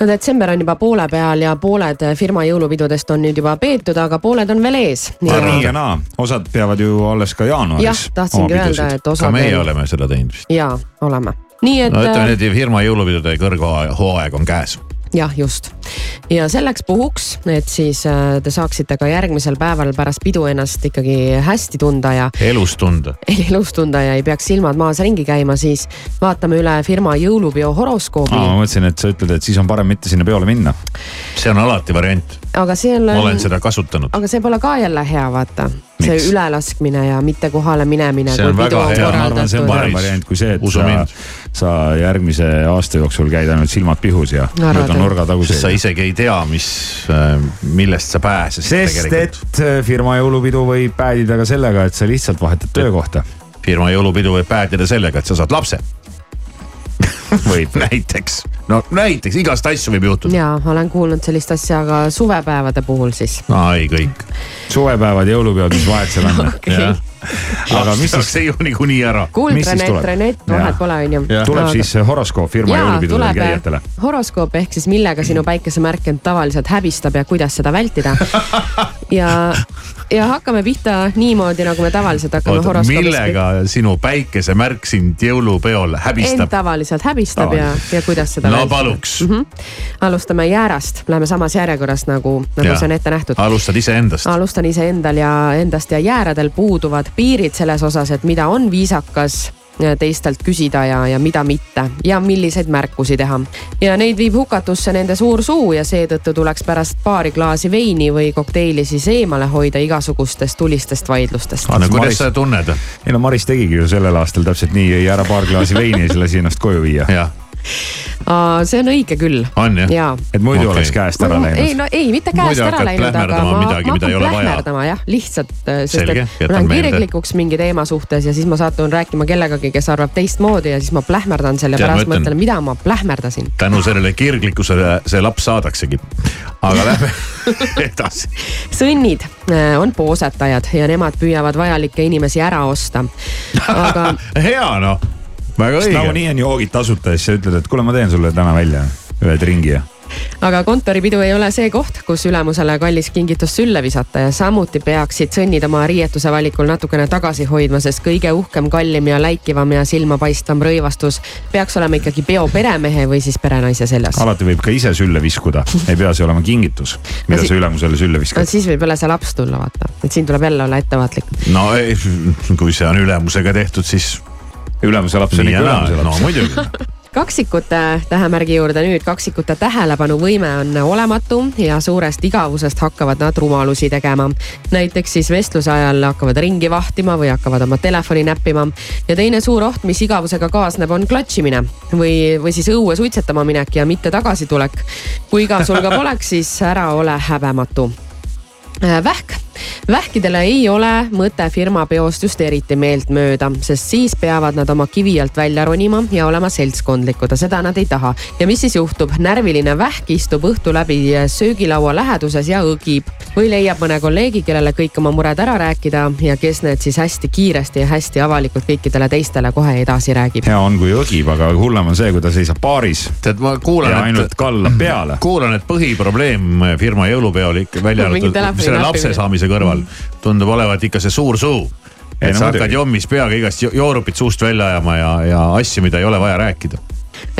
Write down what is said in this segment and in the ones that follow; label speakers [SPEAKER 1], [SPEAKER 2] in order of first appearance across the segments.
[SPEAKER 1] no detsember on juba poole peal ja pooled firma jõulupidudest on nüüd juba peetud, aga pooled on veel ees.
[SPEAKER 2] nii ja naa, osad peavad ju alles ka jaanuaris.
[SPEAKER 1] jah , tahtsingi öelda , et
[SPEAKER 3] ka
[SPEAKER 1] osa
[SPEAKER 3] meie
[SPEAKER 1] veel
[SPEAKER 3] oleme seda teinud vist .
[SPEAKER 1] ja oleme , nii et äh,
[SPEAKER 3] no ütleme nüüd firma jõulupidude kõrghooaeg on käes .
[SPEAKER 1] jah , just ja selleks puhuks , et siis äh, te saaksite ka järgmisel päeval pärast pidu ennast ikkagi hästi tunda ja
[SPEAKER 3] elus tunda .
[SPEAKER 1] elus tunda ja ei peaks silmad maas ringi käima , siis vaatame üle firma jõulupeo horoskoobi
[SPEAKER 2] aa , ma mõtlesin , et sa ütled , et siis on parem mitte sinna peole minna .
[SPEAKER 3] see on alati variant ,
[SPEAKER 1] aga seal
[SPEAKER 3] ma olen
[SPEAKER 1] on ,
[SPEAKER 3] seda kasutanud .
[SPEAKER 1] Äh, aga see pole ka jälle hea , vaata . see
[SPEAKER 2] Miks?
[SPEAKER 1] ülelaskmine ja mitte kohale minemine .
[SPEAKER 3] See on väga hea, ma
[SPEAKER 2] ma arvan , see on parem
[SPEAKER 3] Päris.
[SPEAKER 2] variant kui see , et
[SPEAKER 3] Usu
[SPEAKER 2] sa
[SPEAKER 3] mind. ,
[SPEAKER 2] sa järgmise aasta jooksul käid ainult silmad pihus ja
[SPEAKER 1] Arvad,
[SPEAKER 2] mööda
[SPEAKER 1] jah?
[SPEAKER 2] nurga
[SPEAKER 3] sest sa
[SPEAKER 2] taguseid .
[SPEAKER 3] isegi ei tea , mis , millest sa pääsesid
[SPEAKER 2] sest
[SPEAKER 3] tegelikult .
[SPEAKER 2] et äh, firma jõulupidu võib päädida ka sellega , et sa lihtsalt vahetad töökohta .
[SPEAKER 3] firma jõulupidu võib päädida sellega , et sa saad lapse
[SPEAKER 2] võib .
[SPEAKER 3] näiteks , no näiteks igast asju võib juhtuda .
[SPEAKER 1] ja olen kuulnud sellist asja ka suvepäevade puhul siis .
[SPEAKER 3] ai kõik ,
[SPEAKER 2] suvepäevad , jõulupeod , mis vahet seal on .
[SPEAKER 3] jah . aga mis
[SPEAKER 2] siis-
[SPEAKER 3] siis , see ju niikuinii ära .
[SPEAKER 1] kuuld
[SPEAKER 2] Mis siis
[SPEAKER 1] Renett ,
[SPEAKER 2] tuleb?
[SPEAKER 1] Renett , vahet
[SPEAKER 2] Jaa.
[SPEAKER 1] pole onju .
[SPEAKER 2] tuleb siis äh, horoskoop firma
[SPEAKER 1] jaa ,
[SPEAKER 2] jõulupidudel
[SPEAKER 1] tuleb
[SPEAKER 2] käijatele .
[SPEAKER 1] horoskoop ehk siis millega sinu päikesemärk end tavaliselt häbistab ja kuidas seda vältida . ja , ja hakkame pihta niimoodi , nagu me tavaliselt hakkame
[SPEAKER 3] oota ,
[SPEAKER 1] horoskoobis .
[SPEAKER 3] millega sinu päikesemärk sind jõulupeol
[SPEAKER 1] end
[SPEAKER 3] häbistab ?
[SPEAKER 1] tavaliselt häbistab
[SPEAKER 2] Tavaliselt.
[SPEAKER 1] ja , ja kuidas seda
[SPEAKER 3] no
[SPEAKER 1] vältida .
[SPEAKER 3] paluks ,
[SPEAKER 1] Mhm, alustame jäärast , lähme samas järjekorras nagu , nagu
[SPEAKER 3] Jaa.
[SPEAKER 1] see on ette nähtud .
[SPEAKER 3] alustad iseendast .
[SPEAKER 1] alustan iseendal ja endast ja jääradel puuduvad piirid selles osas , et mida on viisakas äh, teistelt küsida ja , ja mida mitte ja milliseid märkusi teha . ja neid viib hukatusse nende suur suu ja seetõttu tuleks pärast paari klaasi veini või kokteili siis eemale hoida igasugustest tulistest vaidlustest .
[SPEAKER 3] no
[SPEAKER 2] Vaata, Maris-
[SPEAKER 3] kuidas sa tunned ,
[SPEAKER 2] ei no Maris tegigi ju sellel aastal täpselt nii , jõi ära paar klaasi veini ja siis lasi ennast koju viia .
[SPEAKER 3] jah ,
[SPEAKER 1] see on õige küll .
[SPEAKER 3] on jah ?
[SPEAKER 1] jaa .
[SPEAKER 2] et muidu
[SPEAKER 3] Okei.
[SPEAKER 2] okay. oleks käest ära
[SPEAKER 1] ei
[SPEAKER 2] läinud .
[SPEAKER 1] no ei , mitte käest
[SPEAKER 3] Muidu
[SPEAKER 1] ära
[SPEAKER 3] hakkad
[SPEAKER 1] läinud , aga
[SPEAKER 3] plähmerdama
[SPEAKER 1] ma ,
[SPEAKER 3] midagi,
[SPEAKER 1] ma
[SPEAKER 3] mida ei
[SPEAKER 1] hakkan
[SPEAKER 3] ole vaja.
[SPEAKER 1] plähmerdama jah , lihtsalt , sest
[SPEAKER 3] Selge,
[SPEAKER 1] et
[SPEAKER 3] jätan
[SPEAKER 1] ma lähen
[SPEAKER 3] meelde.
[SPEAKER 1] kirglikuks mingi teema suhtes ja siis ma satun rääkima kellegagi , kes arvab teistmoodi ja siis ma plähmerdan selle
[SPEAKER 3] Tead, ma
[SPEAKER 1] pärast ,
[SPEAKER 3] ütlen-
[SPEAKER 1] mõtlen , mida ma plähmerdasin .
[SPEAKER 3] tänu sellele kirglikkusele see laps saadaksegi . aga lähme edasi .
[SPEAKER 1] sõnnid äh, on poosetajad ja nemad püüavad vajalikke inimesi ära osta . aga
[SPEAKER 3] hea noh , väga õige .
[SPEAKER 2] nagunii on joogid tasuta ja siis sa ütled , et kuule , ma teen sulle täna välja ühed ringi ja .
[SPEAKER 1] aga kontoripidu ei ole see koht , kus ülemusele kallis kingitus sülle visata ja samuti peaksid sõnnid oma riietuse valikul natukene tagasi hoidma , sest kõige uhkem , kallim ja läikivam ja silmapaistvam rõivastus peaks olema ikkagi peo peremehe või siis perenaise seljas .
[SPEAKER 2] alati võib ka ise sülle viskuda , ei pea see olema kingitus , mida
[SPEAKER 1] No si-
[SPEAKER 2] sa ülemusele sülle
[SPEAKER 1] no
[SPEAKER 2] viskad .
[SPEAKER 1] siis võib jälle see laps tulla , vaata , et siin tuleb jälle olla ettevaatlik .
[SPEAKER 3] no ei, kui see on ülemusega tehtud , siis
[SPEAKER 2] ülemuse laps on
[SPEAKER 3] nii ja
[SPEAKER 2] ikka ülemuse
[SPEAKER 3] naa , no
[SPEAKER 2] laps .
[SPEAKER 3] muidugi .
[SPEAKER 1] kaksikute tähemärgi juurde nüüd , kaksikute tähelepanuvõime on olematu ja suurest igavusest hakkavad nad rumalusi tegema . näiteks siis vestluse ajal hakkavad ringi vahtima või hakkavad oma telefoni näppima . ja teine suur oht , mis igavusega kaasneb , on klatšimine või , või siis õue suitsetama minek ja mitte tagasitulek . kui igav sul ka poleks , siis ära ole häbematu Äh, vähk , vähkidele ei ole mõte firma peost just eriti meeltmööda , sest siis peavad nad oma kivi alt välja ronima ja olema seltskondlikud ja seda nad ei taha . ja mis siis juhtub , närviline vähk istub õhtu läbi söögilaua läheduses ja õgib või leiab mõne kolleegi , kellele kõik oma mured ära rääkida ja kes need siis hästi kiiresti ja hästi avalikult kõikidele teistele kohe edasi räägib .
[SPEAKER 2] hea on , kui õgib , aga hullem on see , kui ta seisab baaris
[SPEAKER 3] tead , ma
[SPEAKER 2] ja
[SPEAKER 3] kuulan ,
[SPEAKER 2] ainult
[SPEAKER 3] et ,
[SPEAKER 2] kallab peale .
[SPEAKER 3] kuulan , et põhiprobleem firma jõulupeol ikka välja
[SPEAKER 1] Mingi
[SPEAKER 3] arvatud
[SPEAKER 1] telefoni
[SPEAKER 3] selle lapse
[SPEAKER 1] näppimine.
[SPEAKER 3] saamise kõrval tundub olevat ikka see suur suu . et
[SPEAKER 2] Ei, no
[SPEAKER 3] sa
[SPEAKER 2] muidugi.
[SPEAKER 3] hakkad jommis peaga igast jo- joorupit suust välja ajama ja , ja asju , mida ei ole vaja rääkida .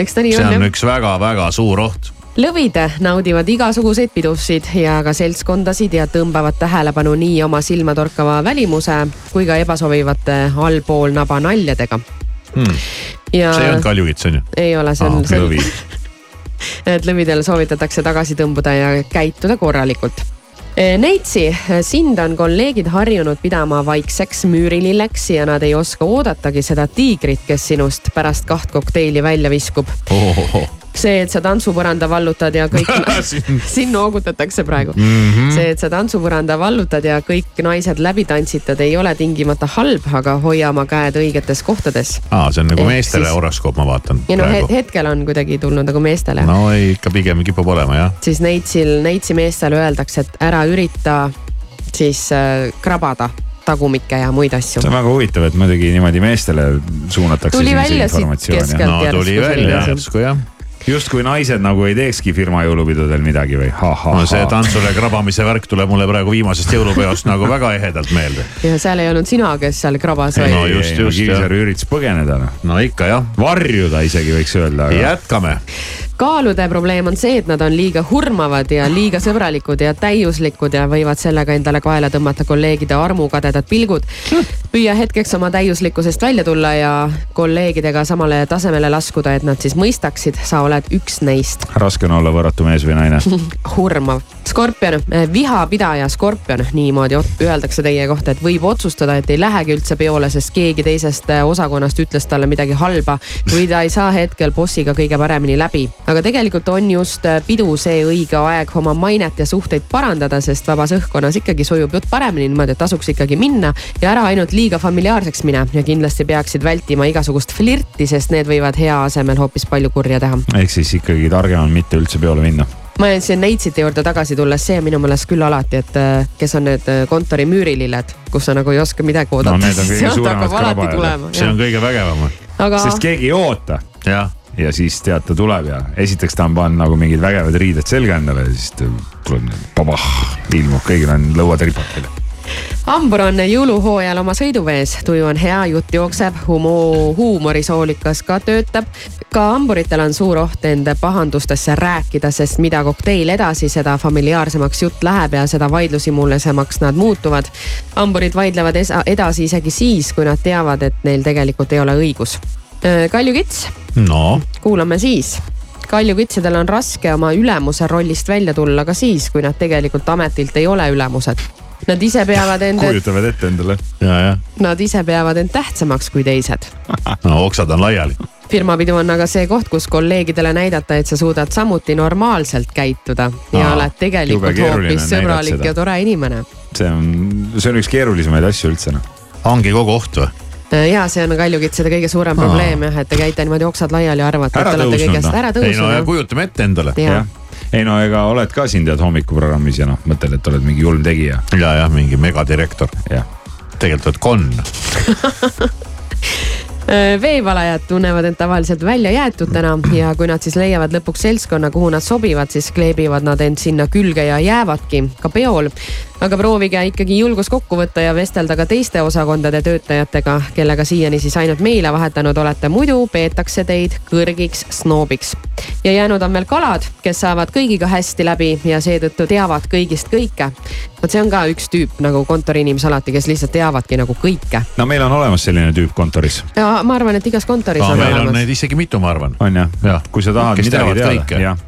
[SPEAKER 1] eks ta nii
[SPEAKER 3] see
[SPEAKER 1] on
[SPEAKER 3] on
[SPEAKER 1] jah .
[SPEAKER 3] üks väga-väga suur oht .
[SPEAKER 1] lõvid naudivad igasuguseid pidusid ja ka seltskondasid ja tõmbavad tähelepanu nii oma silmatorkava välimuse kui ka ebasobivate allpool naba naljadega
[SPEAKER 3] Hmm.
[SPEAKER 1] ja
[SPEAKER 3] see ei olnud kaljukits on Ah, ju ?
[SPEAKER 1] ei ole , see on
[SPEAKER 2] Aa, lõvi. ,
[SPEAKER 1] et lõvidel soovitatakse tagasi tõmbuda ja käituda korralikult . Neitsi , sind on kolleegid harjunud pidama vaikseks müürililleks ja nad ei oska oodatagi seda tiigrit , kes sinust pärast kaht kokteili välja viskub . see , et sa tantsupõranda vallutad ja kõik siin noogutatakse praegu mm . -hmm. see , et sa tantsupõranda vallutad ja kõik naised läbi tantsitad , ei ole tingimata halb , aga hoia oma käed õigetes kohtades .
[SPEAKER 3] aa , see on nagu
[SPEAKER 1] Ehk
[SPEAKER 3] meestele
[SPEAKER 1] siis-
[SPEAKER 3] horoskoop , ma vaatan
[SPEAKER 1] ja noh ,
[SPEAKER 3] praegu .
[SPEAKER 1] hetkel on kuidagi tulnud nagu meestele no. ,
[SPEAKER 3] no ei, ikka pigem kipub olema jah .
[SPEAKER 1] siis neitsil , neitsi meestele öeldakse , et ära ürita siis äh, krabada tagumikke ja muid asju
[SPEAKER 2] see . on väga huvitav , et muidugi niimoodi meestele suunatakse .
[SPEAKER 1] Tuli välja siit keskelt.
[SPEAKER 3] no
[SPEAKER 1] Järsku
[SPEAKER 3] tuli
[SPEAKER 1] selline
[SPEAKER 3] välja
[SPEAKER 1] asi.
[SPEAKER 3] järsku jah .
[SPEAKER 2] justkui naised nagu ei teekski firma jõulupidudel midagi või ha-ha-ha
[SPEAKER 3] no see tantsude krabamise värk tuleb mulle praegu viimasest jõulupeost nagu väga ehedalt meelde .
[SPEAKER 1] ja seal ei olnud sina , kes seal krabas
[SPEAKER 3] Ei,
[SPEAKER 1] vaid
[SPEAKER 3] no
[SPEAKER 1] no,
[SPEAKER 3] just, just,
[SPEAKER 2] Kivisäär üritas põgeneda noh ,
[SPEAKER 3] no ikka jah ,
[SPEAKER 2] varjuda isegi võiks öelda , aga
[SPEAKER 3] jätkame .
[SPEAKER 1] kaalude probleem on see , et nad on liiga hurmavad ja liiga sõbralikud ja täiuslikud ja võivad sellega endale kaela tõmmata kolleegide armukadedad pilgud . püüa hetkeks oma täiuslikkusest välja tulla ja kolleegidega samale tasemele laskuda , et nad siis mõistaksid , sa oled üks neist .
[SPEAKER 2] raske on olla võrratu mees või naine .
[SPEAKER 1] hurmav . skorpion , vihapidaja skorpion , niimoodi ot- öeldakse teie kohta , et võib otsustada , et ei lähegi üldse peole , sest keegi teisest eh, osakonnast ütles talle midagi halba või ta ei saa hetkel bossiga kõige paremini läbi . aga tegelikult on just eh, pidu see õige aeg oma mainet ja suhteid parandada , sest vabas õhkkonnas ikkagi sujub jutt paremini , niimoodi , et tasuks ikkagi minna ja ära ainult liiga familiaarseks mine ja kindlasti peaksid vältima igasugust flirti , sest need võivad hea asemel hoopis palju kurja teha
[SPEAKER 2] ehk siis ikkagi targem on mitte üldse peole minna .
[SPEAKER 1] ma jään siia Neitsite juurde tagasi tulles , see on minu meelest küll alati , et äh, kes on need äh, kontori müürililled , kus sa nagu ei oska midagi oodata
[SPEAKER 2] No need on kõige suuremad
[SPEAKER 3] see
[SPEAKER 2] krabajad.
[SPEAKER 3] on
[SPEAKER 1] nagu tulema .
[SPEAKER 3] kõige vägevam .
[SPEAKER 1] aga
[SPEAKER 2] sest keegi ei oota
[SPEAKER 3] jah ,
[SPEAKER 2] ja siis tead , ta tuleb ja esiteks ta on pannud nagu mingid vägevad riided selga endale ja siis ta tuleb niimoodi pabah , ilmub , kõigil on lõuad ripatel .
[SPEAKER 1] hambur on jõuluhooajal oma sõiduvees , tuju on hea , jutt jookseb , humo- , huumorisoolikas ka töötab . ka hamburitel on suur oht end pahandustesse rääkida , sest mida kokteil edasi , seda familiaarsemaks jutt läheb ja seda vaidlusimulisemaks nad muutuvad . hamburid vaidlevad esa- edasi isegi siis , kui nad teavad , et neil tegelikult ei ole õigus . Kalju Kits
[SPEAKER 3] no
[SPEAKER 1] kuulame siis . kaljukitsedel on raske oma ülemuse rollist välja tulla ka siis , kui nad tegelikult ametilt ei ole ülemused . Nad ise peavad end ,
[SPEAKER 2] kujutavad ette endale .
[SPEAKER 3] ja , ja
[SPEAKER 1] nad ise peavad end tähtsamaks kui teised .
[SPEAKER 3] no oksad on laiali .
[SPEAKER 1] firmapidu on aga see koht , kus kolleegidele näidata , et sa suudad samuti normaalselt käituda ja
[SPEAKER 2] Aa,
[SPEAKER 1] oled
[SPEAKER 2] jube
[SPEAKER 1] tegelikult
[SPEAKER 2] keeruline
[SPEAKER 1] hoopis
[SPEAKER 2] on näidata
[SPEAKER 1] sõbralik
[SPEAKER 2] seda.
[SPEAKER 1] ja tore inimene .
[SPEAKER 2] see on , see on üks keerulisemaid asju üldse noh .
[SPEAKER 3] ongi kogu oht või ?
[SPEAKER 1] ja Äh, see on kaljukitsede kõige suurem
[SPEAKER 3] Aa.
[SPEAKER 1] probleem jah , et te käite niimoodi oksad laiali ja arvate , et
[SPEAKER 2] Ära
[SPEAKER 1] te olete
[SPEAKER 2] tõusnud,
[SPEAKER 1] kõigest
[SPEAKER 2] noh.
[SPEAKER 1] ära
[SPEAKER 3] ei no ja
[SPEAKER 1] tõusnud .
[SPEAKER 3] kujutame ette endale .
[SPEAKER 1] Jah.
[SPEAKER 2] ei no ega oled ka siin tead hommikuprogrammis ja noh , mõtled , et oled mingi julm tegija .
[SPEAKER 3] ja , jah , mingi megadirektor ,
[SPEAKER 2] jah ,
[SPEAKER 3] tegelikult oled konn .
[SPEAKER 1] veevalajad tunnevad end tavaliselt väljajäetutena ja kui nad siis leiavad lõpuks seltskonna , kuhu nad sobivad , siis kleebivad nad end sinna külge ja jäävadki ka peol . aga proovige ikkagi julgus kokku võtta ja vestelda ka teiste osakondade töötajatega , kellega siiani siis ainult meile vahetanud olete , muidu peetakse teid kõrgiks snoobiks . ja jäänud on veel kalad , kes saavad kõigiga hästi läbi ja seetõttu teavad kõigist kõike . vot see on ka üks tüüp nagu kontoriinimesi alati , kes lihtsalt teavadki nagu kõike .
[SPEAKER 2] no meil on olemas selline tüüp kontoris ,
[SPEAKER 1] ja ma arvan , et igas kontoris on
[SPEAKER 3] meil on
[SPEAKER 1] olemas
[SPEAKER 3] neid isegi mitu , ma arvan ,
[SPEAKER 2] on jah
[SPEAKER 3] Jah. ?
[SPEAKER 2] kui sa tahad
[SPEAKER 3] Kes teavad
[SPEAKER 2] midagi
[SPEAKER 3] kõike.
[SPEAKER 2] teada , jah ,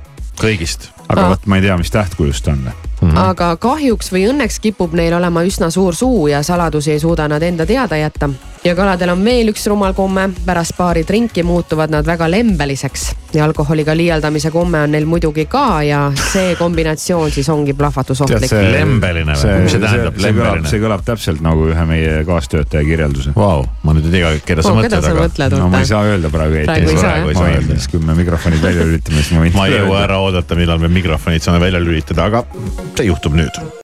[SPEAKER 3] kõigist .
[SPEAKER 2] aga
[SPEAKER 1] Aa.
[SPEAKER 2] vot ma ei tea , mis tähtkujust on .
[SPEAKER 3] Mhm.
[SPEAKER 1] aga kahjuks või õnneks kipub neil olema üsna suur suu ja saladusi ei suuda nad enda teada jätta . ja kaladel on veel üks rumal komme , pärast paari trinki muutuvad nad väga lembeliseks ja alkoholiga liialdamise komme on neil muidugi ka ja see kombinatsioon siis ongi plahvatusohtlik .
[SPEAKER 3] Lembeline või? Mis see tähendab, lembeline?
[SPEAKER 2] see kõlab täpselt nagu ühe meie kaastöötaja kirjelduse .
[SPEAKER 3] Vau , ma nüüd ei tea , keda sa
[SPEAKER 1] Oh, keda
[SPEAKER 3] mõtled ,
[SPEAKER 1] sa
[SPEAKER 3] aga
[SPEAKER 1] mõtled ,
[SPEAKER 2] no ma ei
[SPEAKER 1] Otto ?
[SPEAKER 2] saa öelda praegu
[SPEAKER 1] Praegu ei saa, jah?
[SPEAKER 2] ma ei tea , siis kui me mikrofonid välja lülitame , siis ma võin .
[SPEAKER 3] ma ei jõua ära oodata , millal me mikrofonid saame välja lülitada , aga see juhtub nüüd